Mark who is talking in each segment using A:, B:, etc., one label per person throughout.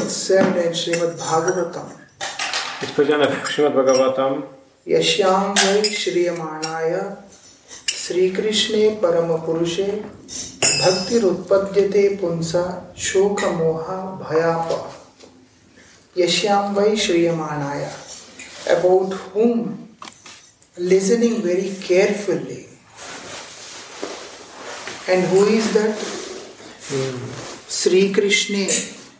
A: वर्णने श्रीमद्भागवतम्
B: Jest powiedziane w Srimad Bhagavatam,
A: यस्यां वै श्रीयमाणाय श्रीकृष्णे परमपुरुषे भक्तिरुत्पद्यते पुंसा शोकमोहा भयाप यस्यां वै श्रीयमाणाय about whom listening very carefully and who is that Sri Krishna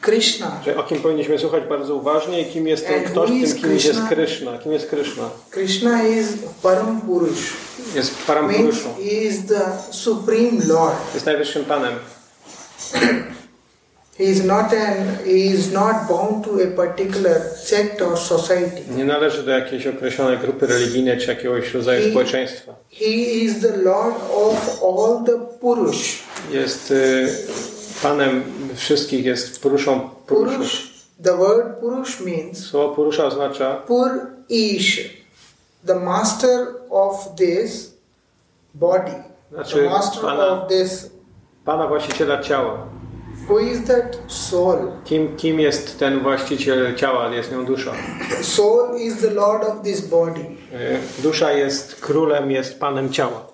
A: Krishna
B: że o kim powinniśmy słuchać bardzo uważnie i kim jest ten
A: And who
B: ktoś,
A: is
B: tym kim jest
A: Krishna?
B: Krishna. Kim jest Krishna?
A: Krishna is Param Purush
B: Jest
A: means
B: Parampuruszą.
A: he is the supreme lord
B: Jest najwyższym Panem.
A: he is not an he is not bound to a particular sect or society
B: Nie należy do jakiejś określonej grupy religijnej czy jakiegoś rodzaju
A: I-
B: społeczeństwa.
A: he is the lord of all the purush
B: Jest y, Panem wszystkich, jest Puruszą Puruszów.
A: purush the word purush means
B: Słowo Purusza oznacza
A: Purish, the master of this body, the
B: Znaczy
A: master
B: pana.
A: of this.
B: Pana właściciela ciała.
A: Who is that soul?
B: Kim, kim jest ten właściciel ciała? Jest nią dusza.
A: Soul is the lord of this body.
B: Y, Dusza jest królem, jest panem ciała.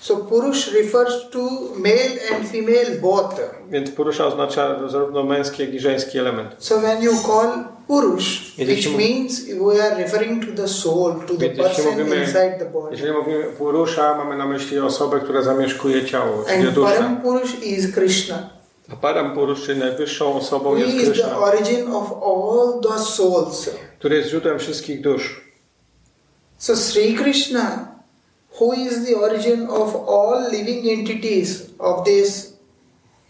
A: So Purush refers to male and female both.
B: Więc Purusza oznacza zarówno męski, jak i żeński element.
A: So when you call Purush,
B: Jeśli
A: which
B: mu-
A: means we are referring to the soul, to the
B: Więc jeśli
A: person
B: mówimy,
A: inside the body.
B: jeżeli mówimy Purusza, mamy na myśli osobę, która zamieszkuje ciało, czyli
A: And
B: dusza.
A: Param Purush is Krishna.
B: A Param Purusz, czyli najwyższą osobą
A: He
B: jest
A: is the
B: Oh, Krishna,
A: origin of all the souls.
B: który jest źródłem wszystkich dusz.
A: So Sri Krishna, who is the origin of all living entities of these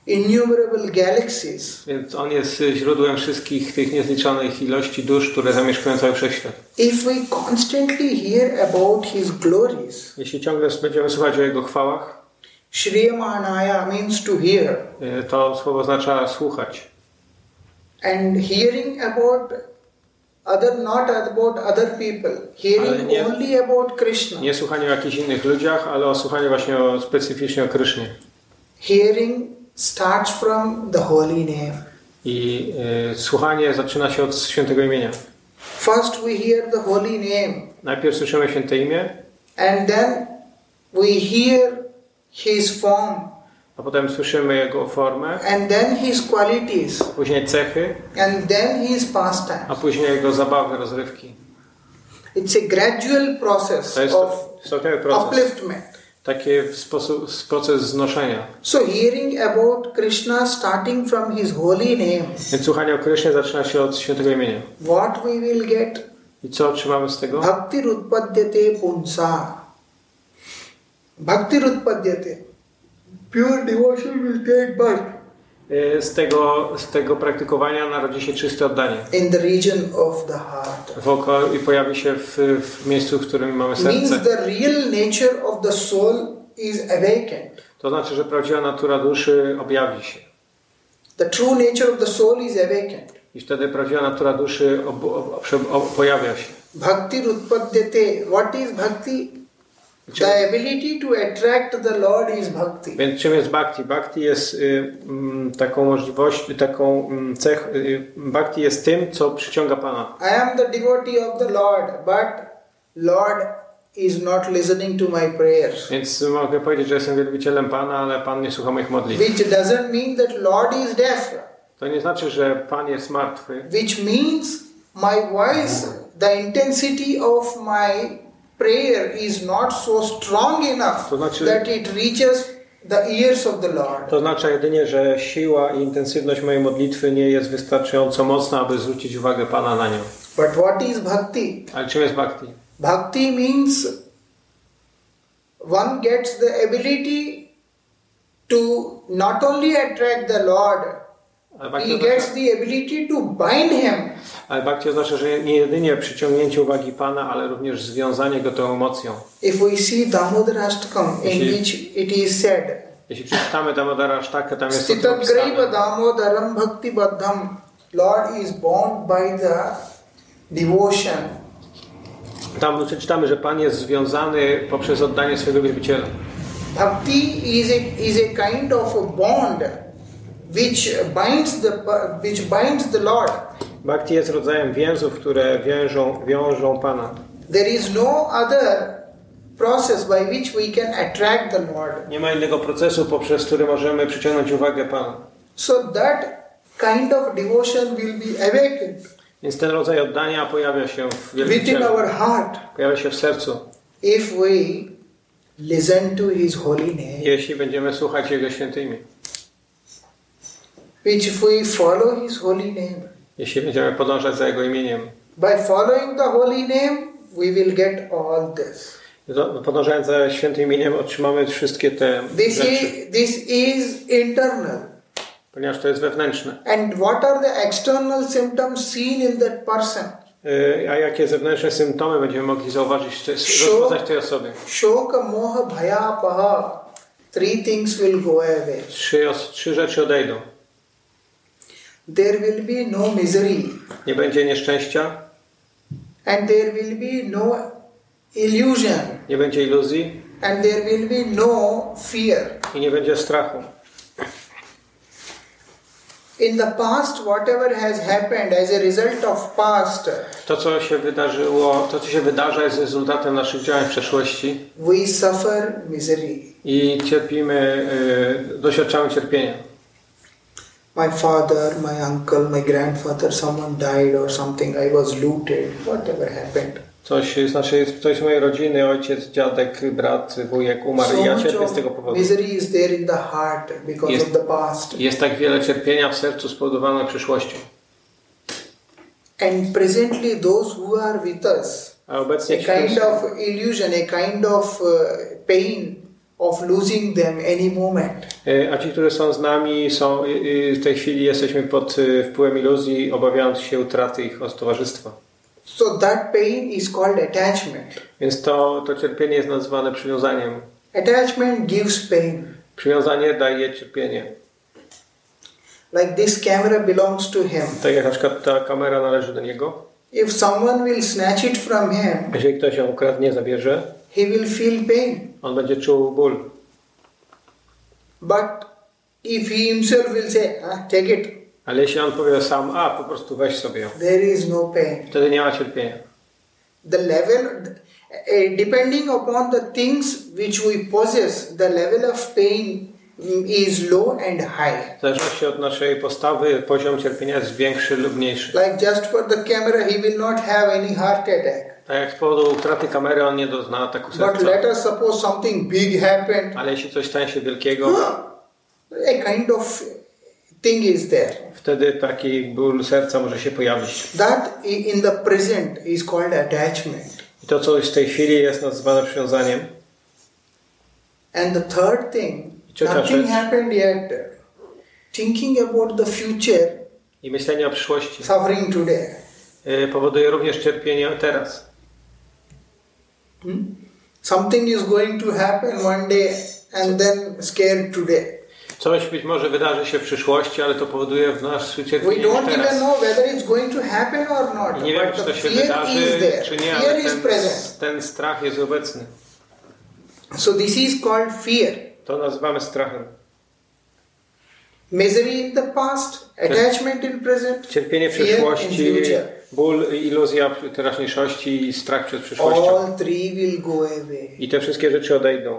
A: innumerable galaxies,
B: Więc on jest źródłem wszystkich tych niezliczonych ilości dusz, które zamieszkują cały wszechświat.
A: if we constantly hear about his glories,
B: Jeśli ciągle będziemy słuchać o jego chwałach,
A: Shriyamanaya means to hear,
B: y, to słowo oznacza słuchać.
A: and hearing about other not about other people, hearing
B: Ale nie-
A: only about Krishna,
B: Nie słuchanie o jakichś innych ludziach, ale o słuchanie właśnie o, specyficznie o Krysznie.
A: hearing starts from the holy name.
B: I y, słuchanie zaczyna się od świętego imienia.
A: First we hear the holy name,
B: Najpierw słyszymy święte imię,
A: and then we hear his form
B: a potem słyszymy jego formę,
A: and then his qualities
B: później cechy,
A: and then his
B: a
A: pastime
B: później jego zabawy, rozrywki.
A: it's a gradual process
B: To jest
A: of
B: stopniowy proces.
A: upliftment
B: Taki w sposób, s- proces znoszenia.
A: so hearing about krishna starting from his holy name
B: Więc słuchanie o Krysznie zaczyna się od świętego imienia.
A: what we will get
B: I co otrzymamy z tego?
A: bhakti rutpadyate punsa bhakti rutpadyate pure devotion will take birth
B: Y, Z tego, z tego praktykowania narodzi się czyste oddanie.
A: in the region of the heart
B: W oko i pojawi się w, w miejscu, w którym mamy
A: means
B: serce.
A: the real nature of the soul is awakened.
B: To znaczy, że prawdziwa natura duszy objawi się.
A: The true nature of the soul is awakened.
B: I wtedy prawdziwa natura duszy ob, ob, prze- ob, pojawia się.
A: Bhakti Rutpadyate. What is bhakti?
B: Czym,
A: The ability to attract the Lord is bhakti.
B: więc czym jest bhakti? Bhakti jest y, mm, taką możliwość, taką mm, cech. Y, bhakti jest tym, co przyciąga Pana.
A: I am the devotee of the Lord, but Lord is not listening to my prayers.
B: Więc mogę powiedzieć, że jestem wielbicielem Pana, ale Pan nie słucha moich modlitw.
A: Which doesn't mean that Lord is deaf,
B: To nie znaczy, że Pan jest martwy,
A: which means my voice, the intensity of my prayer is not so strong enough
B: To znaczy-
A: that it reaches the ears of the Lord.
B: To oznacza jedynie, że siła i intensywność mojej modlitwy nie jest wystarczająco mocna, aby zwrócić uwagę Pana na nią.
A: But what is bhakti?
B: Ale czym jest bhakti?
A: Bhakti means one gets the ability to not only attract the Lord,
B: Ale bhakti,
A: he gets
B: oznacza,
A: the ability to bind him.
B: ale bhakti oznacza, że nie jedynie przyciągnięcie uwagi Pana, ale również związanie go tą emocją.
A: If we see Damodarashtakam, in
B: Jeśli-
A: which it is said,
B: Jeśli przeczytamy Damodara Sztakę, tam jest o tym
A: Stitam Graiva
B: opisane.
A: Damodaram Bhakti Baddham, Lord is bound by the devotion.
B: Tam przeczytamy, że Pan jest związany poprzez oddanie swojego wielbiciela.
A: Bhakti is a, is a kind of a bond which binds the which binds the Lord.
B: Bhakti jest rodzajem więzów, które wiążą, wiążą Pana.
A: There is no other process by which we can attract the Lord.
B: Nie ma innego procesu, poprzez który możemy przyciągnąć uwagę Pana.
A: So that kind of devotion will be awakened
B: Więc ten rodzaj oddania pojawia się w wielkim
A: within
B: ciele,
A: our heart
B: pojawia się w sercu,
A: if we listen to His holy name,
B: jeśli będziemy słuchać Jego świętymi.
A: which if we follow His holy name.
B: Jeśli będziemy podążać za Jego imieniem.
A: By following the holy name, we will get all this.
B: To- Podążając za świętym imieniem otrzymamy wszystkie te
A: This
B: rzeczy,
A: is, this is internal.
B: ponieważ to jest wewnętrzne.
A: And what are the external symptoms seen in that person?
B: Yy, A jakie zewnętrzne symptomy będziemy mogli zauważyć, to jest
A: Sure.
B: rozpoznać tej osobie?
A: Shoka, moha, bhaya, paha. Three things will go away.
B: Trzy, os- trzy rzeczy odejdą.
A: There will be no misery
B: Nie będzie nieszczęścia,
A: and there will be no illusion
B: nie będzie iluzji
A: and there will be no fear.
B: i nie będzie strachu.
A: In the past, whatever has happened as a result of past,
B: To, co się wydarzyło, to, co się wydarza, jest rezultatem naszych działań w przeszłości
A: we suffer misery.
B: i cierpimy, yy, doświadczamy cierpienia.
A: My father, my uncle, my grandfather, someone died or something, I was looted, whatever happened.
B: Coś, znaczy, ktoś z mojej rodziny, ojciec, dziadek, brat, wujek umarł i ja cierpię z tego powodu.
A: misery is there in the heart because
B: Yes.
A: of the past.
B: Jest tak wiele cierpienia w sercu spowodowane przyszłością.
A: And presently, those who are with us,
B: A obecnie
A: a
B: ci,
A: kind
B: którzy-
A: of illusion, a kind of uh, pain of losing them any moment.
B: y, a ci, którzy są z nami, są, y, y, w tej chwili jesteśmy pod y, wpływem iluzji, obawiając się utraty ich od towarzystwa.
A: So, that pain is called attachment.
B: Więc to, to cierpienie jest nazywane przywiązaniem.
A: Attachment gives pain.
B: Przywiązanie daje cierpienie.
A: Like this camera belongs to him.
B: Tak jak na przykład ta kamera należy do niego.
A: If someone will snatch it from him,
B: Jeżeli ktoś ją ukradnie, zabierze,
A: he will feel pain.
B: on będzie czuł ból.
A: But if he himself will say, ah, take it,
B: Ale jeśli on powie sam, a po prostu weź sobie ją,
A: there is no pain.
B: wtedy nie ma cierpienia.
A: The level, eh, depending upon the things which we possess, the level of pain mm, is low and high.
B: W zależności od naszej postawy, poziom cierpienia jest większy lub mniejszy.
A: Like just for the camera, he will not have any heart attack.
B: Tak jak z powodu utraty kamery on nie dozna ataku
A: But
B: serca.
A: let us suppose something big happened,
B: Ale jeśli coś stanie się wielkiego,
A: huh, a kind of thing is there.
B: wtedy taki ból serca może się pojawić.
A: That i- in the present is called attachment.
B: I to, co jest w tej chwili jest nazywane przywiązaniem.
A: And the third thing,
B: Trzecia
A: nothing
B: rzecz.
A: happened yet. Thinking about the future,
B: I myślenie o przyszłości
A: suffering today.
B: y, powoduje również cierpienie teraz.
A: Hmm? Something is going to happen one day and then scared today.
B: Coś być może wydarzy się w przyszłości, ale to powoduje w nas
A: We
B: cierpienie
A: don't even
B: teraz.
A: know whether it's going to happen or not,
B: I nie wiem,
A: but
B: czy
A: the
B: to się
A: fear
B: wydarzy,
A: is there.
B: czy nie,
A: Fear
B: ale
A: is
B: ten,
A: present.
B: ten strach jest obecny.
A: So this is called fear.
B: To nazywamy strachem.
A: Misery in the past, attachment in present,
B: Cierpienie
A: Fear in
B: przyszłości,
A: future.
B: ból, iluzja teraźniejszości i strach przed przyszłością.
A: all three will go away.
B: I te wszystkie rzeczy odejdą.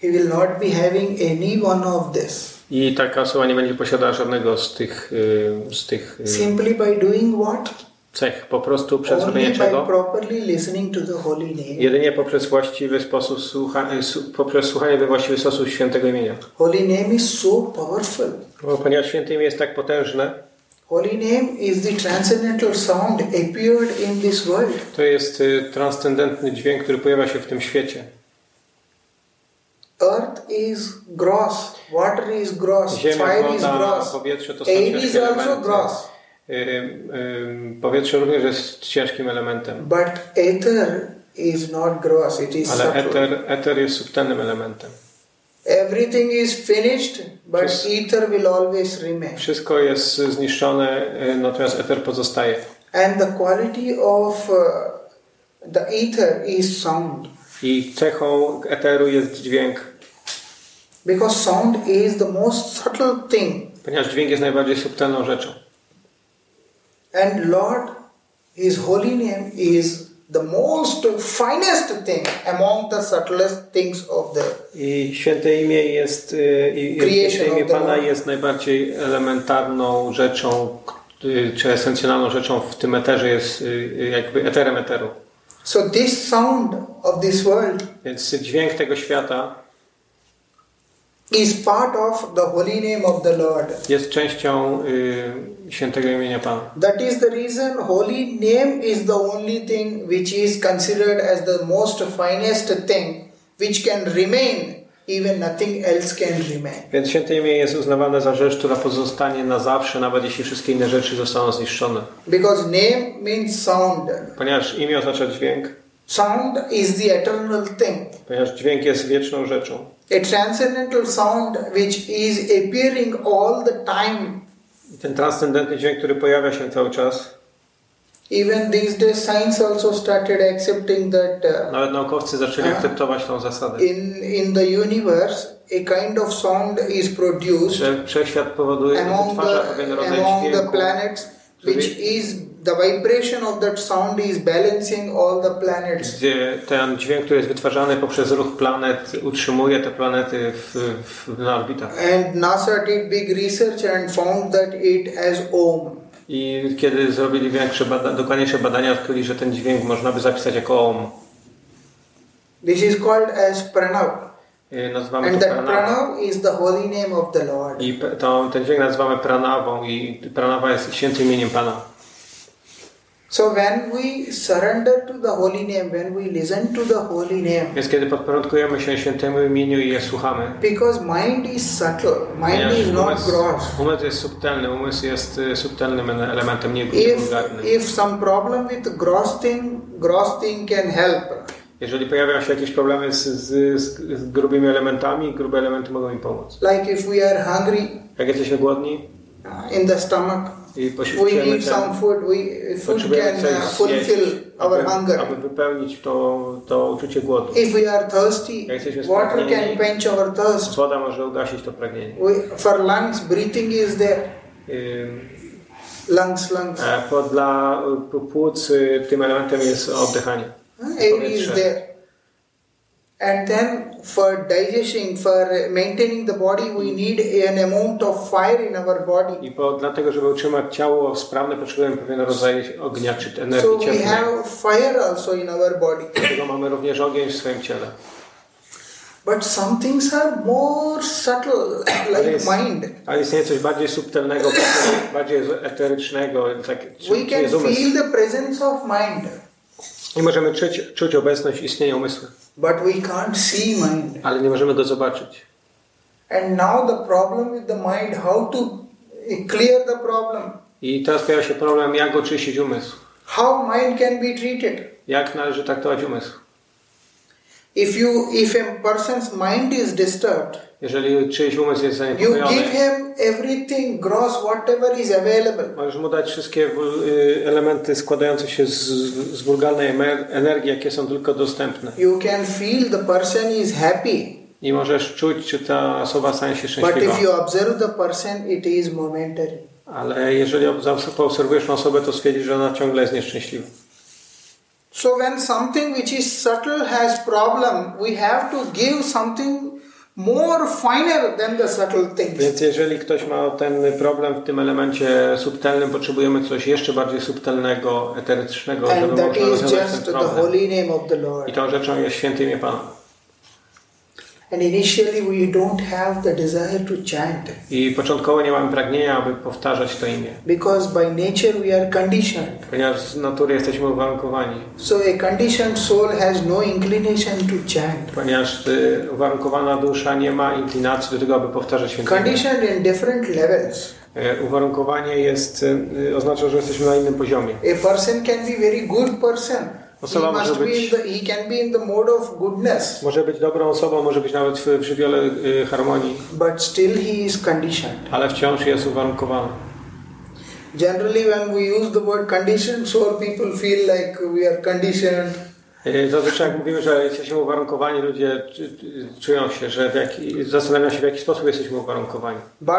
A: He will not be having any one of this.
B: I taka osoba nie będzie posiadała żadnego z tych, y, z tych y,
A: Simply by doing what?
B: cech. Po prostu przez
A: Only
B: robienie
A: by
B: czego?
A: properly listening to the holy name.
B: Jedynie poprzez właściwy sposób słucha, y, su- poprzez słuchanie we właściwy sposób świętego imienia.
A: Holy name is so powerful.
B: Bo ponieważ święte imię jest tak potężne,
A: Holy name is the transcendental sound appeared in this world.
B: to jest y, transcendentny dźwięk, który pojawia się w tym świecie.
A: Earth is gross, water is gross,
B: Ziemia,
A: fire is
B: woda,
A: gross,
B: powietrze to są
A: air is
B: ciężkie
A: also
B: elementy.
A: gross.
B: Y, y, powietrze również jest ciężkim elementem,
A: But ether is not gross, it is
B: ale
A: subtle.
B: eter, eter jest subtelnym elementem.
A: Everything is finished, but
B: Just-
A: ether will always remain.
B: Wszystko jest zniszczone, y, natomiast eter pozostaje.
A: And the quality of uh, the ether is sound.
B: I cechą eteru jest dźwięk,
A: Because sound is the most subtle thing.
B: ponieważ dźwięk jest najbardziej subtelną rzeczą.
A: And Lord, His holy name is the most finest thing among the subtlest things of the.
B: I święte imię jest, y, i- i
A: Creation
B: święte imię
A: of the
B: Pana
A: Lord.
B: jest najbardziej elementarną rzeczą, y, czy esencjonalną rzeczą w tym eterze jest y, y, jakby eterem eteru.
A: So this sound of this world
B: Więc dźwięk tego świata
A: is part of the holy name of the Lord.
B: jest częścią y, świętego imienia Pana.
A: That is the reason holy name is the only thing which is considered as the most finest thing which can remain even nothing else can remain.
B: Więc święte imię jest uznawane za rzecz, która pozostanie na zawsze, nawet jeśli wszystkie inne rzeczy zostaną zniszczone.
A: Because name means sound.
B: Ponieważ imię oznacza dźwięk,
A: Sound is the eternal thing.
B: ponieważ dźwięk jest wieczną rzeczą.
A: A transcendental sound which is appearing all the time.
B: I ten transcendentny dźwięk, który pojawia się cały czas,
A: Even these days science also started accepting that uh,
B: nawet naukowcy zaczęli
A: Aha.
B: akceptować tą zasadę.
A: in in the universe a kind of sound is produced
B: że wszechświat powoduje,
A: among
B: wytwarza
A: the
B: pewien rodzaj
A: among the
B: dźwięku,
A: planets
B: Sorry?
A: which is the vibration of that sound is balancing all the planets
B: gdzie ten dźwięk, który jest wytwarzany poprzez ruch planet, utrzymuje te planety w, w, na orbitach.
A: and NASA did big research and found that it as ohm
B: I kiedy zrobili większe, bada, dokładniejsze badania, odkryli, że ten dźwięk można by zapisać jako OM.
A: this is called as pranav
B: Y, Nazywamy
A: and
B: to
A: that
B: pranawa.
A: pranav is the holy name of the Lord
B: I p- tą, ten dźwięk nazywamy pranawą i pranawa jest świętym imieniem Pana.
A: so when we surrender to the holy name when we listen to the holy name
B: Więc kiedy podporządkujemy się świętemu imieniu i je słuchamy,
A: because mind is subtle mind
B: ponieważ
A: is not
B: umysł,
A: gross
B: umysł jest subtelny, umysł jest y, subtelnym elementem, nie
A: if
B: wulgarnym.
A: if some problem with gross thing gross thing can help
B: Jeżeli pojawiają się jakieś problemy z, z, z, z grubymi elementami, grube elementy mogą im pomóc.
A: like if we are hungry
B: Jak jesteśmy głodni
A: uh, in the stomach
B: i
A: we
B: potrzebujemy
A: need
B: ten,
A: some food we food
B: potrzebujemy
A: can
B: coś
A: uh,
B: zjeść,
A: fulfill our
B: aby,
A: hunger
B: aby wypełnić to, to uczucie głodu.
A: if we are thirsty
B: Jak jesteśmy
A: water
B: spragnieni.
A: can quench our thirst
B: Woda może ugasić to pragnienie.
A: we, for lungs breathing is there
B: Ym,
A: lungs lungs
B: e, Bo dla y, płuc y, tym elementem jest oddychanie.
A: uh, air is
B: powietrze.
A: there and then for digesting for maintaining the body we need an amount of fire in our body
B: I po, dlatego, żeby utrzymać ciało sprawne, potrzebujemy pewien rodzaj ognia czy energii
A: So we
B: cieplnej.
A: have fire also in our body.
B: Dlatego mamy również ogień w swoim ciele.
A: But some things are more subtle, like
B: Yes.
A: mind.
B: Ale istnieje coś bardziej subtelnego, bardziej eterycznego, tak,
A: We
B: czym
A: can
B: jest umysł.
A: feel the presence of mind,
B: I możemy czuć, czuć obecność istnienia umysłu,
A: but we can't see mind.
B: ale nie możemy go zobaczyć.
A: And now the problem with the mind, how to eh, clear the problem,
B: I teraz pojawia się problem, jak oczyścić umysł.
A: how mind can be treated.
B: Jak należy traktować umysł?
A: If you, if a person's mind is disturbed,
B: Jeżeli czyjś umysł jest
A: you give
B: zaniepokojony,
A: him everything gross, whatever is available.
B: możesz mu dać wszystkie wul- y, elementy składające się z, z wulgarnej emer- energii, jakie są tylko dostępne.
A: You can feel the person is happy,
B: I możesz czuć, czy ta osoba stanie się
A: But
B: szczęśliwa.
A: if you observe the person, it is momentary.
B: Ale jeżeli ob- zaobs- poobserwujesz tą osobę, to stwierdzisz, że ona ciągle jest nieszczęśliwa.
A: So when something which is subtle has problem, we have to give something more finer than the subtle things.
B: Więc jeżeli ktoś ma ten problem w tym elemencie subtelnym, potrzebujemy coś jeszcze bardziej subtelnego, eterycznego,
A: And
B: żeby
A: that
B: można
A: is
B: rozwiązać ten
A: just the
B: problem.
A: holy name of the
B: I
A: Lord.
B: tą rzeczą jest święte imię Pana.
A: And initially we don't have the desire to chant
B: I początkowo nie mamy pragnienia, aby powtarzać to imię,
A: because by nature we are conditioned.
B: ponieważ z natury jesteśmy uwarunkowani.
A: So a conditioned soul has no inclination to chant.
B: Ponieważ y, uwarunkowana dusza nie ma inklinacji do tego, aby powtarzać święte imię.
A: Conditioned in different levels.
B: Y, Uwarunkowanie jest, y, y, oznacza, że jesteśmy na innym poziomie.
A: A person can be very good person. He
B: Osoba może
A: must be in
B: być-
A: the he can be in the mode of goodness.
B: Może być dobrą osobą, może być nawet w, w żywiole y, harmonii,
A: but still he is conditioned.
B: ale wciąż jest uwarunkowany.
A: Generally, when we use the word conditioned, so people feel like we are conditioned,
B: E, Zazwyczaj jak mówimy, że jesteśmy uwarunkowani, ludzie czy- czy- czują się, że w jaki, zastanawiają się w jaki sposób jesteśmy uwarunkowani.
A: But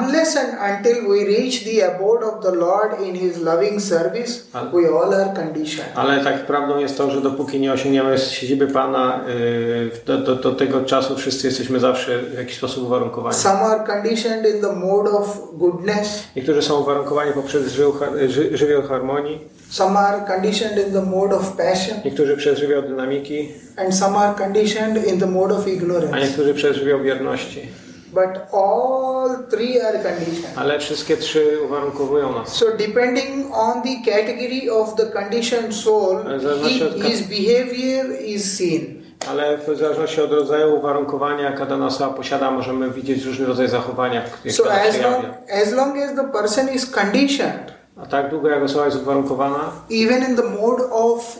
A: unless and until we reach the abode of the Lord in His loving service,
B: Al-
A: we all are conditioned.
B: Ale tak prawdą jest to, że dopóki nie osiągniemy siedziby Pana, y, do, do, do tego czasu wszyscy jesteśmy zawsze w jakiś sposób uwarunkowani.
A: Some are conditioned in the mode of goodness,
B: Niektórzy są uwarunkowani poprzez żył, ży, żywioł harmonii,
A: some are conditioned in the mode of passion,
B: niektórzy przez żywioł dynamiki,
A: and some are conditioned in the mode of
B: a
A: ignorance.
B: niektórzy przez żywioł bierności.
A: But all three are conditioned.
B: Ale wszystkie trzy uwarunkowują nas.
A: So, depending on the category of the conditioned soul,
B: Ale zależy
A: he-
B: od ka-
A: his behavior is seen.
B: Ale w zależności od rodzaju uwarunkowania, jaka dana osoba posiada, możemy widzieć różny rodzaj zachowania, które
A: So,
B: się
A: as
B: pojawia.
A: long, as long as the person is conditioned,
B: A tak długo jak osoba jest uwarunkowana,
A: even in the mode of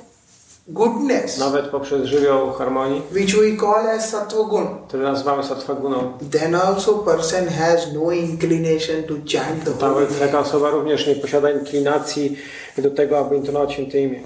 A: goodness,
B: nawet poprzez żywioł harmonii,
A: which we call as sattva gun,
B: który nazywamy satwaguną,
A: then also person has no inclination to chant the holy
B: Nawet
A: name.
B: taka osoba również nie posiada inklinacji do tego, aby intonować święte imię.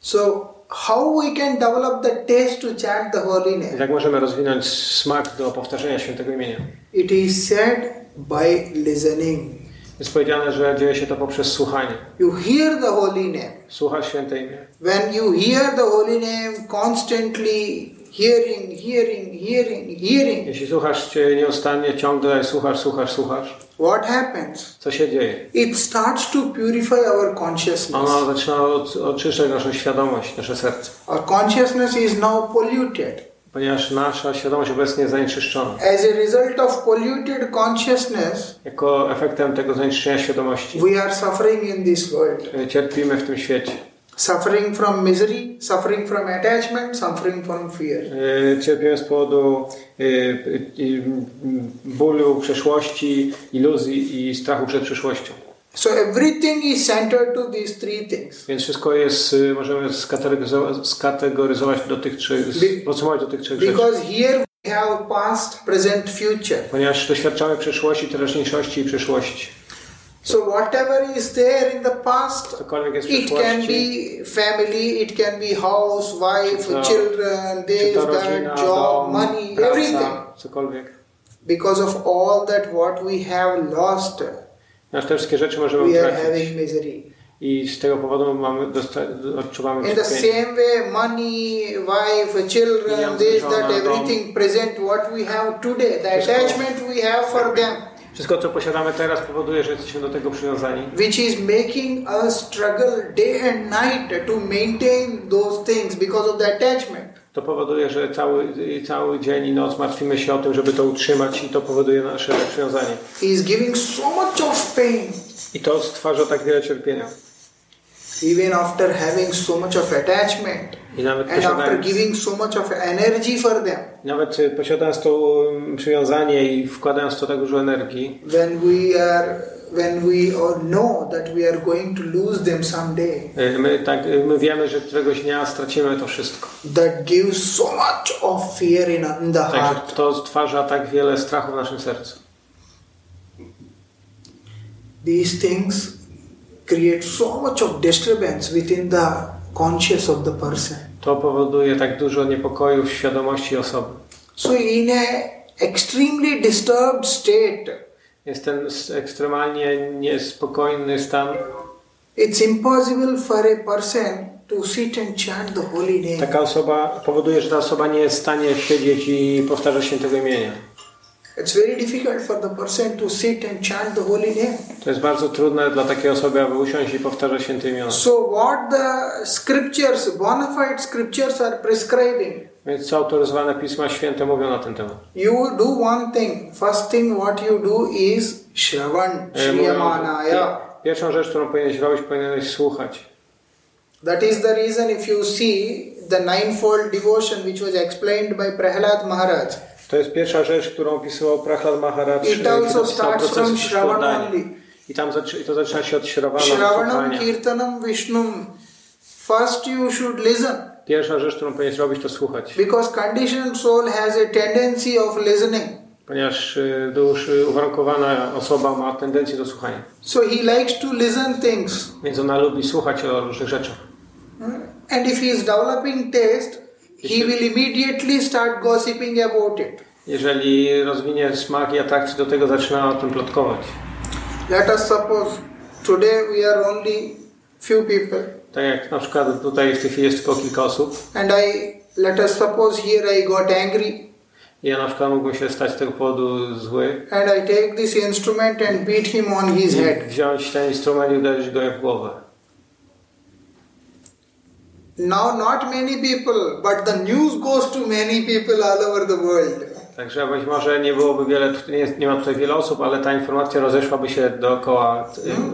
A: So how we can develop the taste to chant the holy
B: I
A: name?
B: tak możemy rozwinąć smak do powtarzania świętego imienia.
A: It is said by listening.
B: Jest powiedziane, że dzieje się to poprzez słuchanie.
A: You hear the holy name.
B: Słuchasz święte imię.
A: When you hear the holy name constantly, hearing, hearing, hearing, hearing,
B: Jeśli słuchasz cię nieustannie, ciągle słuchasz, słuchasz, słuchasz,
A: what happens?
B: co się dzieje?
A: It starts to purify our consciousness.
B: Ono zaczyna od- oczyszczać naszą świadomość, nasze serce.
A: Our consciousness is now polluted.
B: Ponieważ nasza świadomość obecnie jest zanieczyszczona.
A: As a result of polluted consciousness,
B: Jako efektem tego zanieczyszczenia świadomości
A: we are suffering in this world.
B: y, cierpimy w tym świecie.
A: Suffering from misery, suffering from attachment, suffering from fear.
B: E, Cierpię z powodu e, e, m, bólu przeszłości, iluzji i strachu przed przyszłością.
A: So everything is centered to these three things.
B: Więc wszystko jest, e, możemy skategoryzowa- skategoryzować do tych trzech,
A: Be-
B: podsumować do tych trzech rzeczy.
A: Because here we have past, present, future.
B: Ponieważ doświadczamy przeszłości, teraźniejszości i przyszłości.
A: So whatever is there in the past,
B: Cokolwiek jest w
A: it can
B: przyszłości,
A: be family, it can be house, wife,
B: No.
A: children,
B: czy
A: this,
B: to rodzina,
A: that, job,
B: dom,
A: money, everything.
B: praca, cokolwiek.
A: because of all that what we have lost
B: Nasz te wszystkie rzeczy możemy
A: we are
B: utracić
A: having misery
B: i z tego powodu mamy, dosta- odczuwamy
A: in the
B: cierpienie.
A: same way money wife children
B: Pieniądze,
A: this
B: żona,
A: that
B: dom.
A: everything present what we have today the
B: Wszystko.
A: attachment we have for them
B: Wszystko, co posiadamy teraz, powoduje, że jesteśmy do tego przywiązani.
A: which is making us struggle day and night to maintain those things because of the attachment
B: To powoduje, że cały, cały dzień i noc martwimy się o tym, żeby to utrzymać i to powoduje nasze przywiązanie.
A: is giving so much of pain
B: I to stwarza tak wiele cierpienia.
A: even after having so much of attachment
B: I nawet
A: and after
B: posiadając,
A: giving so much of energy for them
B: nawet y, posiadając to um, przywiązanie i wkładając w to tak dużo energii,
A: when we are when we all know that we are going to lose them someday
B: y, my, tak, y, my wiemy, że któregoś dnia stracimy to wszystko.
A: that gives so much of fear in, in the
B: Także
A: heart
B: to stwarza tak wiele strachu w naszym sercu.
A: these things create so much of disturbance within the conscious of the person
B: To powoduje tak dużo niepokoju w świadomości osoby.
A: so in a extremely disturbed state
B: Jest ten s- ekstremalnie niespokojny stan.
A: it's impossible for a person to sit and chant the holy name
B: Taka osoba powoduje, że ta osoba nie jest w stanie siedzieć i powtarzać świętego imienia.
A: it's very difficult for the person to sit and chant the holy name
B: To jest bardzo trudne dla takiej osoby, aby usiąść i powtarzać święte imiona.
A: So, what the scriptures, bona fide scriptures, are prescribing?
B: Więc co autoryzowane Pisma Święte mówią na ten temat?
A: You do one thing. First thing, what you do is Shravan
B: E, mówią, że
A: Shriyamanaya.
B: pi- pierwszą rzecz, którą powinieneś robić, powinieneś słuchać.
A: That is the reason, if you see the ninefold devotion which was explained by Prahlad Maharaj,
B: To jest pierwsza rzecz, którą opisywał Prahlad Maharaj.
A: It
B: kiedy
A: also
B: opisał
A: starts
B: proces
A: from Shravan
B: składania.
A: only.
B: I tam zaczy- i to zaczyna się od Śrawana,
A: Shravanam
B: słuchania.
A: Kirtanam Vishnum. First, you should listen
B: Pierwsza rzecz, którą powinieneś robić, to słuchać.
A: because conditioned soul has a tendency of listening.
B: Ponieważ y, dusz, y, uwarunkowana osoba ma tendencję do słuchania.
A: So, he likes to listen things.
B: Więc ona lubi słuchać o różnych rzeczach.
A: Hmm. And if he is developing taste, he will immediately start gossiping about it.
B: Jeżeli rozwinie smak i atrakcję do tego, zaczyna o tym plotkować.
A: Let us suppose today we are only few people,
B: Tak jak na przykład tutaj w tej chwili jest tylko kilka osób.
A: and I let us suppose here I got angry
B: Ja na przykład mógłbym się stać z tego powodu zły.
A: and I take this instrument and beat him on his
B: I
A: head.
B: wziąć ten instrument i uderzyć go w głowę.
A: Now, not many people, but the news goes to many people all over the world.
B: Także być może nie byłoby wiele, nie, jest, nie ma tutaj wiele osób, ale ta informacja rozeszłaby się dookoła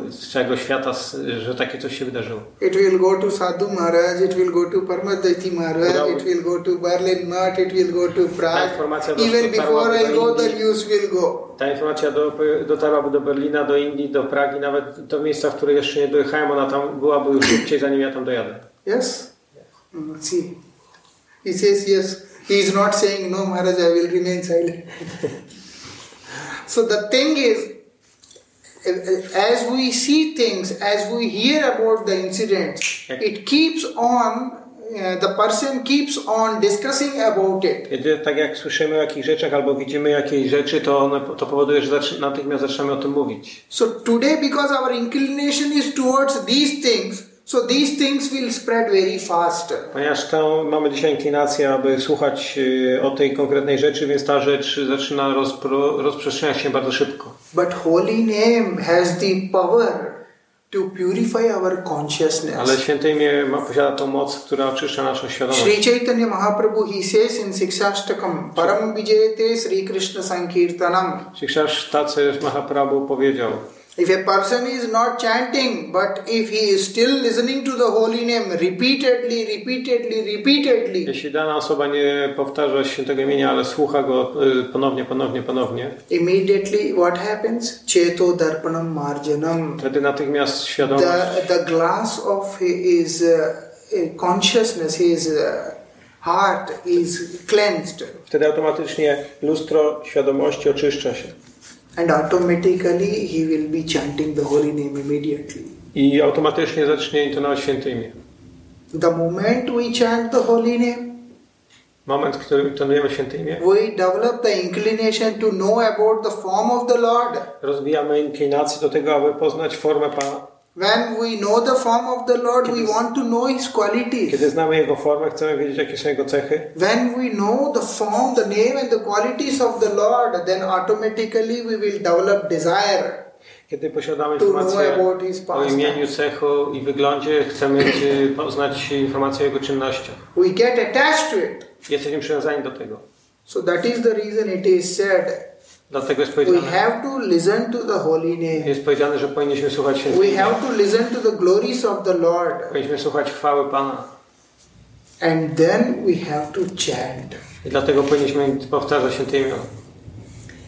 B: y, z całego świata, s- że takie coś się wydarzyło.
A: It will go to Sadhu Maharaj, it will go to Parmadaiti Maharaj,
B: Without-
A: it will go to Berlin Mart, it will go to
B: That
A: Prague.
B: information was
A: Even
B: to
A: before I
B: Parmadaiti.
A: go, the news will go.
B: Ta informacja do, dotarłaby do Berlina, do Indii, do Pragi, nawet do miejsca, w które jeszcze nie dojechałem, ona tam byłaby już szybciej, zanim ja tam dojadę.
A: Yes? Mm, See. He says yes. He is not saying no, Maharaj, I will remain silent. so the thing is, as we see things, as we hear about the incidents, it keeps on, uh, the person keeps on discussing about it.
B: Kiedy tak jak słyszymy o jakichś rzeczach albo widzimy jakieś rzeczy, to one, to powoduje, że zaczy, natychmiast zaczynamy o tym mówić.
A: So today, because our inclination is towards these things, so these things will spread very fast.
B: Ponieważ to mamy dzisiaj inklinację, aby słuchać y, o tej konkretnej rzeczy, więc ta rzecz zaczyna rozpro, rozprzestrzeniać się bardzo szybko.
A: But holy name has the power to purify our
B: Ale
A: consciousness.
B: święte imię ma, posiada tą moc, która oczyszcza naszą świadomość.
A: Sri Chaitanya Mahaprabhu he says in Sikshashtakam Param Vijayate Sri Krishna Sankirtanam.
B: Sikshasz Tacy Mahaprabhu powiedział,
A: If a person is not chanting, but if he is still listening to the holy name repeatedly, repeatedly, repeatedly,
B: jeśli dana osoba nie powtarza świętego imienia, ale słucha go y, ponownie, ponownie, ponownie,
A: immediately what happens? Cheto Darpanam Marjanam.
B: wtedy natychmiast świadomość,
A: the the glass of his uh, consciousness, his uh, heart is cleansed,
B: wtedy automatycznie lustro świadomości oczyszcza się.
A: and automatically he will be chanting the holy name immediately.
B: I automatycznie zacznie intonować święte imię.
A: The moment we chant the holy name,
B: Moment, w którym intonujemy święte imię,
A: we develop the inclination to know about the form of the Lord.
B: rozwijamy inklinację do tego, aby poznać formę Pana.
A: When we know the form of the Lord, we want to know His qualities.
B: Kiedy znamy Jego formę, chcemy wiedzieć, jakie są Jego cechy.
A: When we know the form, the name, and the qualities of the Lord, then automatically we will develop desire.
B: Kiedy posiadamy
A: To know
B: informacje
A: about his past
B: o imieniu, cechu i wyglądzie, chcemy y, poznać informacje o Jego czynnościach.
A: we get attached to it.
B: Jesteśmy przywiązani do tego.
A: So that is the reason it is said
B: Dlatego jest
A: we
B: powiedziane,
A: have to listen to the holy name.
B: jest powiedziane że powinniśmy słuchać świętego
A: We
B: imienia.
A: have to listen to the glories of the Lord.
B: Powinniśmy słuchać chwały Pana.
A: And then we have to chant.
B: I dlatego powinniśmy powtarzać święte imię.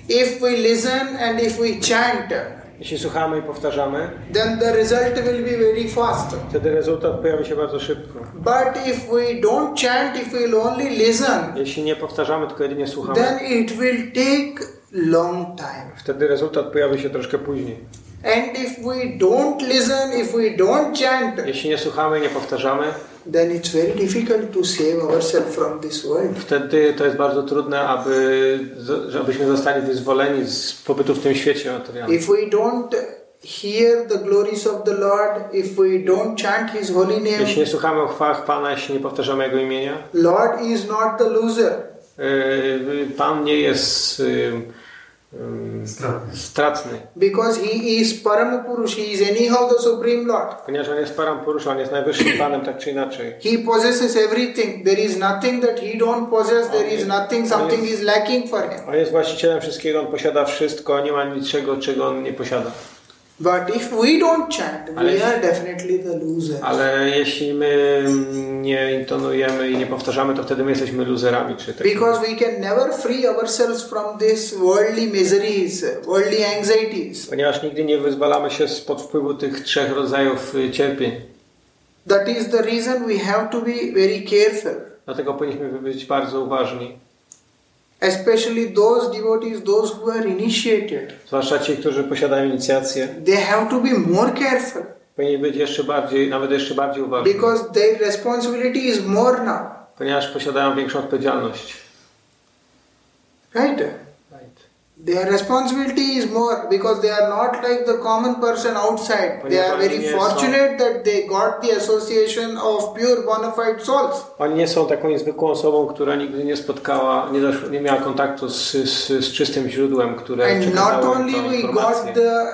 A: If we listen and if we chant,
B: Jeśli słuchamy i powtarzamy,
A: then the result will be very fast.
B: wtedy rezultat pojawi się bardzo szybko.
A: But if we don't chant, if we will only listen,
B: Jeśli nie powtarzamy, tylko jedynie słuchamy,
A: then it will take long time.
B: wtedy rezultat pojawi się troszkę później.
A: And if we don't listen, if we don't chant,
B: Jeśli nie słuchamy i nie powtarzamy,
A: then it's very difficult to save ourselves from this world.
B: wtedy to jest bardzo trudne, aby, żebyśmy zostali wyzwoleni z pobytu w tym świecie materialnym.
A: If we don't hear the glories of the Lord, if we don't chant His holy
B: Jeśli
A: name,
B: nie słuchamy o chwałach Pana, jeśli nie powtarzamy Jego imienia,
A: Lord is not the loser.
B: yy, Pan nie jest yy, yy, stratny,
A: Because he is Paramapurush, he is anyhow the Supreme Lord.
B: ponieważ On jest param Purusza, On jest najwyższym Panem, tak czy inaczej.
A: He possesses everything. There is nothing that he don't possess. There is nothing, something is lacking for him.
B: On jest właścicielem wszystkiego, On posiada wszystko, nie ma niczego, czego On nie posiada.
A: But if we don't chant, we are definitely the loser.
B: Ale jeśli my nie intonujemy i nie powtarzamy, to wtedy my jesteśmy loserami. Czy tak?
A: Because we can never free ourselves from this worldly miseries, worldly anxieties.
B: Ponieważ nigdy nie wyzwalamy się spod wpływu tych trzech rodzajów y, cierpień.
A: That is the reason we have to be very careful,
B: Dlatego powinniśmy być bardzo uważni.
A: especially those devotees, those who are initiated.
B: Zwłaszcza ci, którzy posiadają inicjację.
A: They have to be more careful
B: powinni być jeszcze bardziej, nawet jeszcze bardziej uważni,
A: because their responsibility is more now,
B: ponieważ posiadają większą odpowiedzialność.
A: right? Their responsibility is more because they are not like the common person outside. They are very fortunate that they got the association of pure bona fide souls.
B: Oni nie są taką niezwykłą osobą, która nigdy nie spotkała, nie, dosz, nie miała kontaktu z, z, z czystym źródłem, które
A: And not
B: przekazało im
A: only
B: tą
A: we got
B: informację.
A: the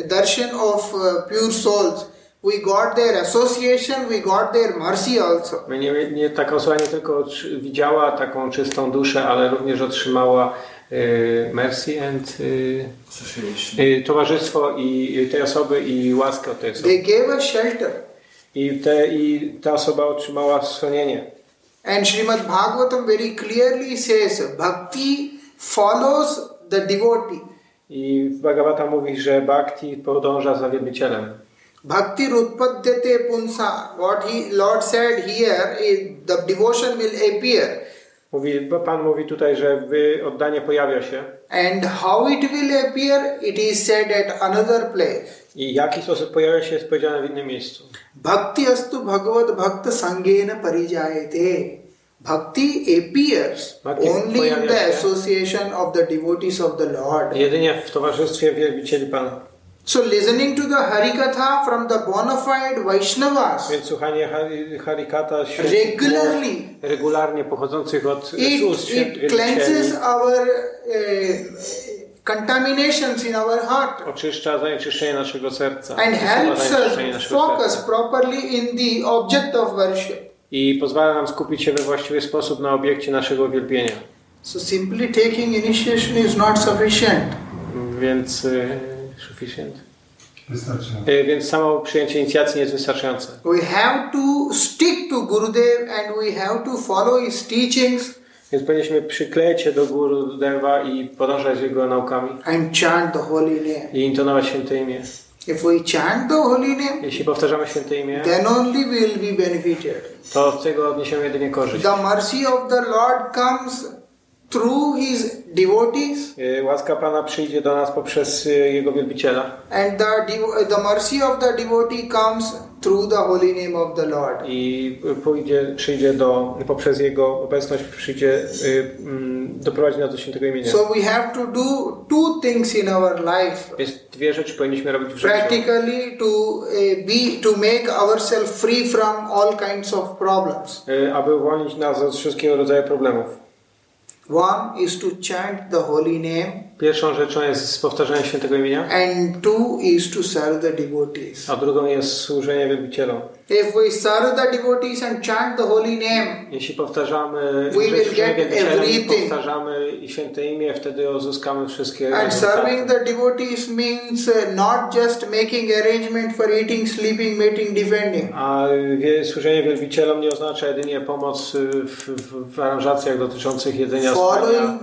A: uh, darshan of uh, pure souls, we got their association, we got their mercy also.
B: My Nie, nie, taka osoba nie tylko otrzy- widziała taką czystą duszę, ale również otrzymała y, mercy and y, y, towarzystwo i y, tej osoby i łaskę od tej osoby.
A: They gave us shelter.
B: I, te, I ta osoba otrzymała schronienie.
A: And Srimad Bhagavatam very clearly says bhakti follows the devotee.
B: I Bhagavata mówi, że bhakti podąża za wielbicielem.
A: Bhakti rutpadyate punsa. What he Lord said here is the devotion will appear.
B: Mówi, bo Pan mówi tutaj, że wy- oddanie pojawia się
A: And how it will appear, it is said at another place.
B: i w jaki sposób pojawia się jest powiedziane w innym miejscu.
A: Bhakti astu bhagavad bhakt sangena parijayate. Bhakti appears
B: Bhakti
A: only in
B: pojawia
A: the
B: się.
A: association of the devotees of the Lord.
B: Jedynie w towarzystwie wielbicieli Pana.
A: So listening to the Harikatha from the bona fide Vaishnavas
B: Więc słuchanie Hari- Harikata świętych
A: regularly,
B: słów, regularnie pochodzących od z
A: it,
B: ust
A: it
B: świętych
A: cleanses
B: wielbicieli
A: our uh, contaminations in our heart
B: oczyszcza zanieczyszczenie naszego serca
A: and
B: usuwa
A: helps
B: zanieczyszczenie
A: us
B: naszego
A: focus
B: serca.
A: properly in the object of worship.
B: i pozwala nam skupić się we właściwy sposób na obiekcie naszego wielbienia.
A: So simply taking initiation is not sufficient.
B: Więc y, sufficient.
C: Wystarczy.
B: Y, Więc samo przyjęcie inicjacji nie jest wystarczające.
A: We have to stick to Gurudev and we have to follow his teachings
B: Więc powinniśmy przykleić się do Guru Deva i podążać jego naukami
A: and chant the holy name.
B: i intonować święte imię.
A: If we chant the holy name,
B: Jeśli powtarzamy święte imię,
A: then only we will be benefited.
B: to z tego odniesiemy jedynie korzyść.
A: The mercy of the Lord comes through his devotees,
B: Y, Łaska Pana przyjdzie do nas poprzez y, Jego wielbiciela
A: and the, devo- the mercy of the devotee comes through the holy name of the Lord.
B: i e, pójdzie, przyjdzie do, poprzez Jego obecność przyjdzie, y, mm, doprowadzi nas do świętego imienia.
A: So we have to do two things in our life.
B: Więc dwie rzeczy powinniśmy robić w życiu.
A: Practically, to uh, be to make ourselves free from all kinds of problems.
B: Y, Aby uwolnić nas od wszystkiego rodzaju problemów.
A: One is to chant the holy name,
B: Pierwszą rzeczą jest powtarzanie świętego imienia,
A: and two is to serve the devotees.
B: a drugą jest służenie wielbicielom.
A: If we serve the devotees and chant the holy name,
B: Jeśli powtarzamy,
A: We will
B: że
A: get
B: wielbicielem
A: everything.
B: powtarzamy i święte imię, wtedy uzyskamy wszystkie
A: And
B: rezultaty.
A: serving the devotees means uh, not just making arrangement for eating, sleeping, mating, defending.
B: A wie, służenie wielbicielom nie oznacza jedynie pomoc y, w, w, w aranżacjach dotyczących jedzenia spania.
A: Following,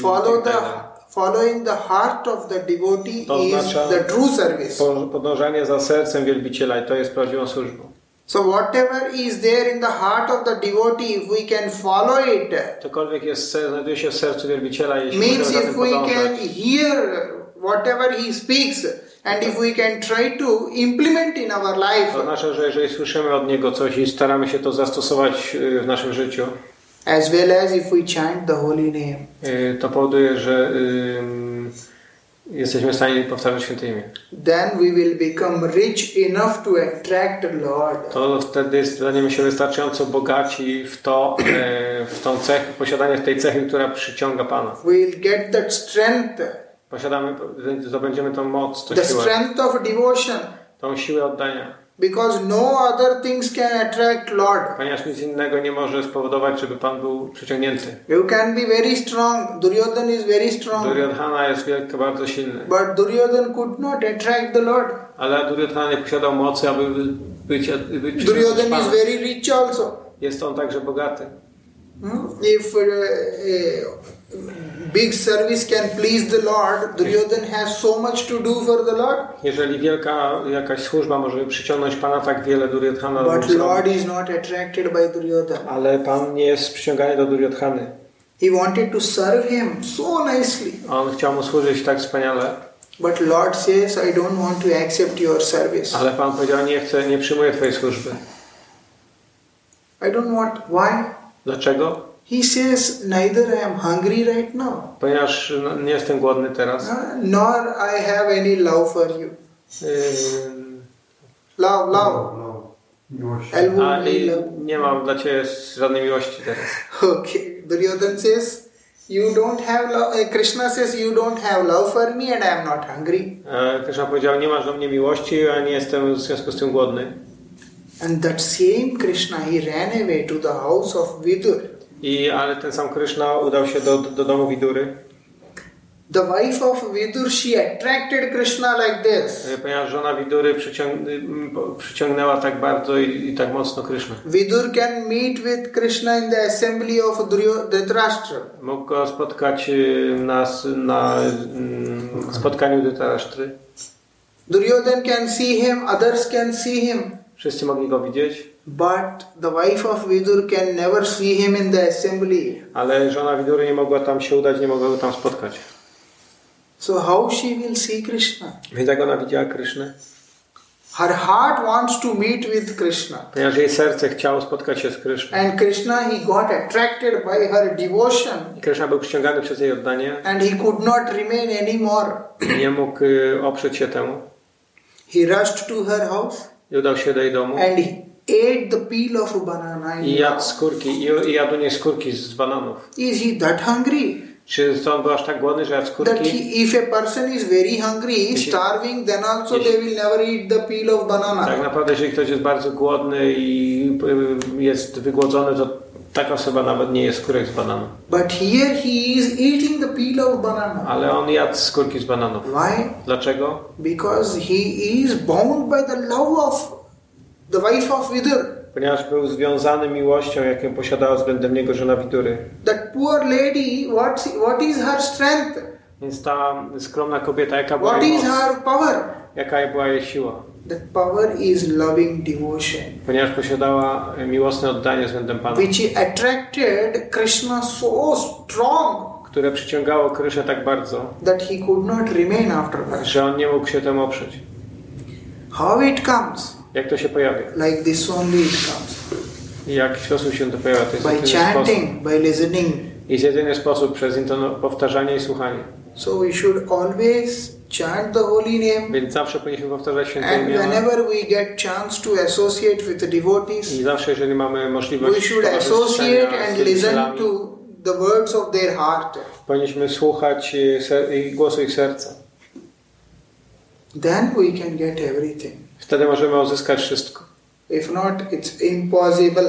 A: follow
B: tak dalej.
A: the following the heart of the devotee
B: To
A: is
B: oznacza-
A: the true service.
B: Po- Podążanie za sercem wielbiciela i to jest prawdziwą służbą.
A: So whatever is there in the heart of the devotee, if we can follow it,
B: Cokolwiek jest, w ser- znajduje się w sercu wielbiciela, jeśli
A: means
B: możemy za
A: if
B: tym
A: we
B: podążać,
A: can hear whatever he speaks, and if we can try to implement in our
B: to
A: life,
B: oznacza, że jeżeli słyszymy od niego coś i staramy się to zastosować y, w naszym życiu,
A: as well as if we chant the holy name.
B: y, to powoduje, że ym, jesteśmy w stanie powtarzać święte imię.
A: then we will become rich enough to attract Lord.
B: To wtedy staniemy się wystarczająco bogaci w, to, e, w tą cechę, posiadanie tej cechy, która przyciąga Pana.
A: We will get that strength,
B: Posiadamy, zdobędziemy tą moc, tą
A: the
B: siłę,
A: strength of devotion,
B: tą siłę oddania.
A: because no other things can attract Lord.
B: Ponieważ nic innego nie może spowodować, żeby Pan był przyciągnięty.
A: You can be very strong. Duryodhan is very strong,
B: Duryodhana jest wielki, bardzo silny,
A: but Duryodhan could not attract the Lord.
B: ale Duryodhana nie posiadał mocy, aby być, być przyciągnąć
A: Duryodhan is
B: Pana.
A: very rich also.
B: Jest on także bogaty.
A: Hmm? If uh, uh, big service can please the Lord, Duryodhan has so much to do for the Lord,
B: Jeżeli wielka jakaś służba może przyciągnąć Pana tak wiele, Duryodhana
A: but
B: zrobi.
A: Lord is not attracted by Duryodhan.
B: Ale Pan nie jest przyciągany do Duryodhany.
A: He wanted to serve him so nicely.
B: On chciał mu służyć tak wspaniale,
A: But Lord says, I don't want to accept your service.
B: Ale Pan powiedział, nie chcę, nie przyjmuję Twojej służby.
A: I don't want. Why?
B: Dlaczego?
A: He says, neither I am hungry right now,
B: Ponieważ no, nie jestem głodny teraz.
A: uh, nor I have any love for you.
B: Yy,
A: Love, love.
C: No, miłość.
A: Elbow
B: a i
A: love.
B: nie mam dla Ciebie żadnej miłości teraz.
A: Okay. Duryodhan says, you don't have love. Uh, Krishna says, you don't have love for me and I am not hungry.
B: E, Krishna powiedział, nie masz do mnie miłości, a nie jestem w związku z tym głodny.
A: And that same Krishna, he ran away to the house of Vidur.
B: I, ale ten sam Krishna udał się do, do domu Widury,
A: The wife of Vidur, she attracted Krishna like this.
B: e, ponieważ żona Widury przyciąg, y, m, po- przyciągnęła tak bardzo i, i tak mocno Krishna.
A: Vidur can meet with Krishna in the assembly of Duryo- Dhritarashtra.
B: Mógł go spotkać y, na, s- na mm, spotkaniu Dytarasztry.
A: Duryodhan can see him, others can see him.
B: Wszyscy mogli go widzieć,
A: But the wife of Vidur can never see him in the assembly.
B: ale żona Widury nie mogła tam się udać, nie mogła go tam spotkać.
A: So, how she will see Krishna?
B: Więc jak ona widziała Krysznę?
A: Her heart wants to meet with Krishna.
B: Ponieważ jej serce chciało spotkać się z Kryszną.
A: And Krishna, he got attracted by her devotion
B: I Kryszna był przyciągany przez jej oddanie
A: and he could not remain anymore.
B: i nie mógł y, oprzeć się temu.
A: He rushed to her house
B: I udał się do jej domu
A: and he ate the peel of a banana.
B: i jadł
A: Yes.
B: skórki, i, i jadł u niej skórki z, z bananów.
A: Is he that hungry?
B: Czy to on był aż tak głodny, że jadł
A: that
B: skórki?
A: he, if a person is very hungry, he is
B: Yes.
A: starving, then also
B: Yes.
A: they will never eat the peel of banana.
B: Tak naprawdę, jeżeli ktoś jest bardzo głodny i y, jest wygłodzony, to taka osoba nawet nie jest skórek z bananu.
A: But here he is eating the peel of banana.
B: Ale on jadł skórki z bananów.
A: Why?
B: Dlaczego?
A: Because he is bound by the love of the wife of Vidur.
B: Ponieważ był związany miłością, jaką posiadała względem niego żona Widury.
A: That poor lady, what, what is her strength?
B: Więc ta skromna kobieta, jaka była
A: What
B: jej
A: is
B: moc?
A: her power?
B: Jaka była jej siła?
A: That power is loving devotion,
B: Ponieważ posiadała miłosne oddanie względem Pana,
A: which attracted Krishna so strong
B: które przyciągało Kryszę tak bardzo,
A: that he could not remain after that.
B: że on nie mógł się temu oprzeć.
A: How it comes?
B: Jak to się pojawia?
A: like this only it comes
B: I Jak w sposób się to pojawia? To jest
A: by
B: jedyny sposób.
A: chanting by listening
B: Jest jedyny sposób przez intono- powtarzanie i słuchanie.
A: so we should always chant the holy name
B: Więc zawsze powinniśmy powtarzać święte
A: and
B: imiona.
A: whenever we get chance to associate with the
B: I
A: devotees
B: zawsze, jeżeli mamy
A: we
B: możliwość
A: should associate
B: towarzyszenia z
A: and listen
B: wielbicielami,
A: to the words of their heart
B: powinniśmy słuchać y, ser- i głosu ich serca.
A: then we can get everything
B: Wtedy możemy uzyskać wszystko.
A: if not it's impossible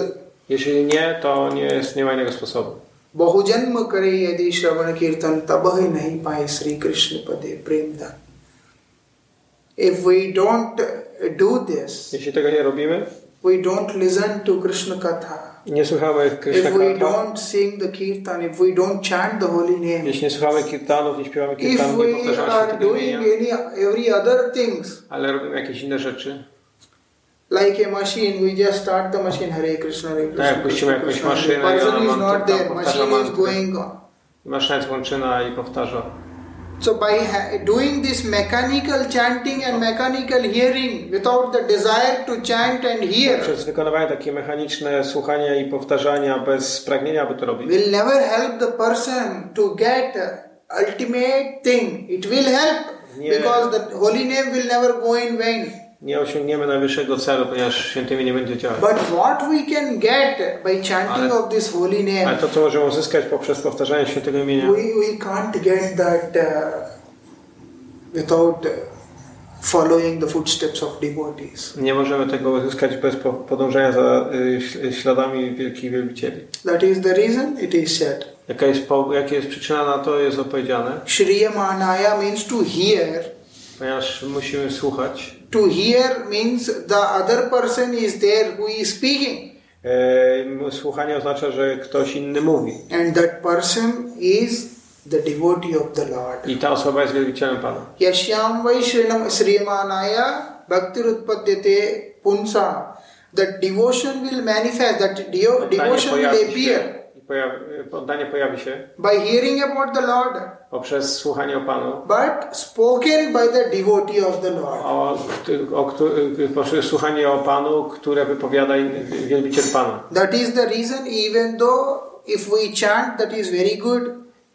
B: Jeśli nie, to nie, jest, nie ma innego sposobu.
A: बहुजन्म करे यदि श्रवण कीर्तन तब ही नहीं पाए श्री कृष्ण पदे प्रेम दान if we don't do this
B: Jeśli tego nie robimy,
A: we don't listen to Krishna Katha,
B: nie słuchamy
A: if we
B: Krishna
A: don't sing the Kirtan, if we don't chant the holy name,
B: jeśli nie słuchamy kirtanów, nie śpiewamy
A: if
B: kirtanów, nie
A: we
B: powtarzamy się
A: are
B: tego
A: doing
B: imienia,
A: any every other things
B: ale robimy jakieś inne rzeczy,
A: like a machine, we just start the machine Hare Krishna Hare Krishna.
B: Tak, puścimy
A: Eh, Krishna,
B: jakąś
A: Krishna.
B: maszynę i
A: person
B: ona
A: is
B: nam
A: not
B: tam
A: there,
B: powtarza
A: machine is
B: mantrę.
A: going on.
B: maszyna jest łączyna i powtarza.
A: So by ha- doing this mechanical chanting and mechanical hearing without the desire to chant and hear
B: Przez wykonywanie takie mechaniczne słuchania i powtarzania bez pragnienia, aby to robić,
A: will never help the person to get ultimate thing. It will help
B: Yeah.
A: because the holy name will never go in vain.
B: nie osiągniemy najwyższego celu, ponieważ świętymi nie będzie działać.
A: But what we can get by chanting
B: Ale-
A: of this holy
B: Ale
A: name,
B: to, co możemy uzyskać poprzez powtarzanie świętego imienia,
A: we, we can't get that uh, without uh, following the footsteps of devotees.
B: nie możemy tego uzyskać bez po- podążania za y, śl- śladami wielkich wielbicieli.
A: That is the reason it is said.
B: Jaka jest, po- jaka jest przyczyna na to, jest opowiedziane,
A: Shriyamanaya means to hear.
B: ponieważ musimy słuchać.
A: To hear means the other person is there who is speaking.
B: E, Słuchanie oznacza, że ktoś inny mówi
A: and that person is the devotee of the Lord.
B: i ta osoba jest wielbicielem Pana.
A: Yashyam vai shrinam sriyamanaya bhaktirutpadyate punsa. That devotion will manifest, that deo-
B: Pytanie
A: devotion will
B: pojawi się
A: appear.
B: i pojawi, oddanie pojawi się
A: by hearing about the Lord,
B: poprzez słuchanie o Panu,
A: but spoken by the devotee of the Lord.
B: o, kt- o, któ- poprzez słuchanie o Panu, które wypowiada in- wielbiciel Pana.
A: That is the reason, even though if we chant, that is very good,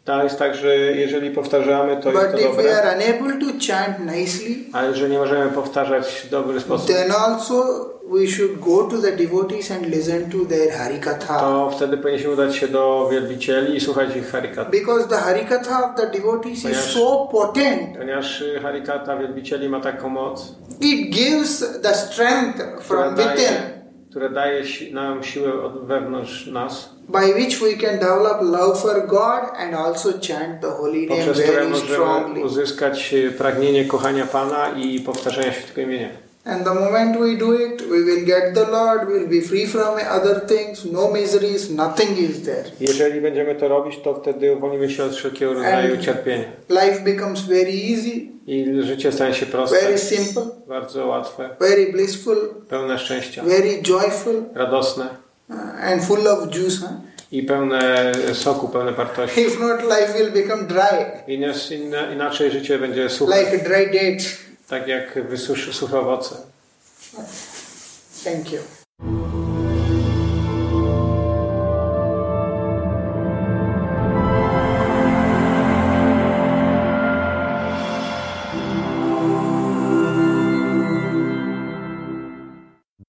B: To jest tak, że jeżeli powtarzamy, to jest
A: but
B: to
A: if we
B: dobre,
A: are unable to chant nicely,
B: ale że nie możemy powtarzać w dobry sposób,
A: then also we should go to the devotees and listen to their Harikatha.
B: to wtedy powinniśmy udać się do wielbicieli i słuchać ich harikat.
A: Because the Harikatha of the devotees is so potent,
B: Ponieważ y, harikata wielbicieli ma taką moc,
A: it gives the strength
B: która
A: from within
B: daje, która daje si- nam siłę od wewnątrz nas,
A: by which we can develop love for God and also chant the holy name
B: poprzez które
A: very
B: możemy
A: strongly.
B: uzyskać y, pragnienie kochania Pana i powtarzania świętego imienia.
A: And the moment we do it, we will get the Lord, we will be free from other things, no miseries, nothing is there.
B: Jeżeli będziemy to robić, to wtedy uwolnimy się od wszelkiego rodzaju cierpienia.
A: Life becomes very easy,
B: I życie stanie się proste,
A: very simple,
B: bardzo łatwe,
A: very blissful,
B: pełne szczęścia,
A: very joyful,
B: radosne
A: uh, and full of juice. Huh?
B: i pełne soku, pełne wartości.
A: If not, life will become dry,
B: I nas- inna- Inaczej życie będzie suche,
A: like dry dates.
B: tak jak wysuszy suche owoce.
A: Thank you.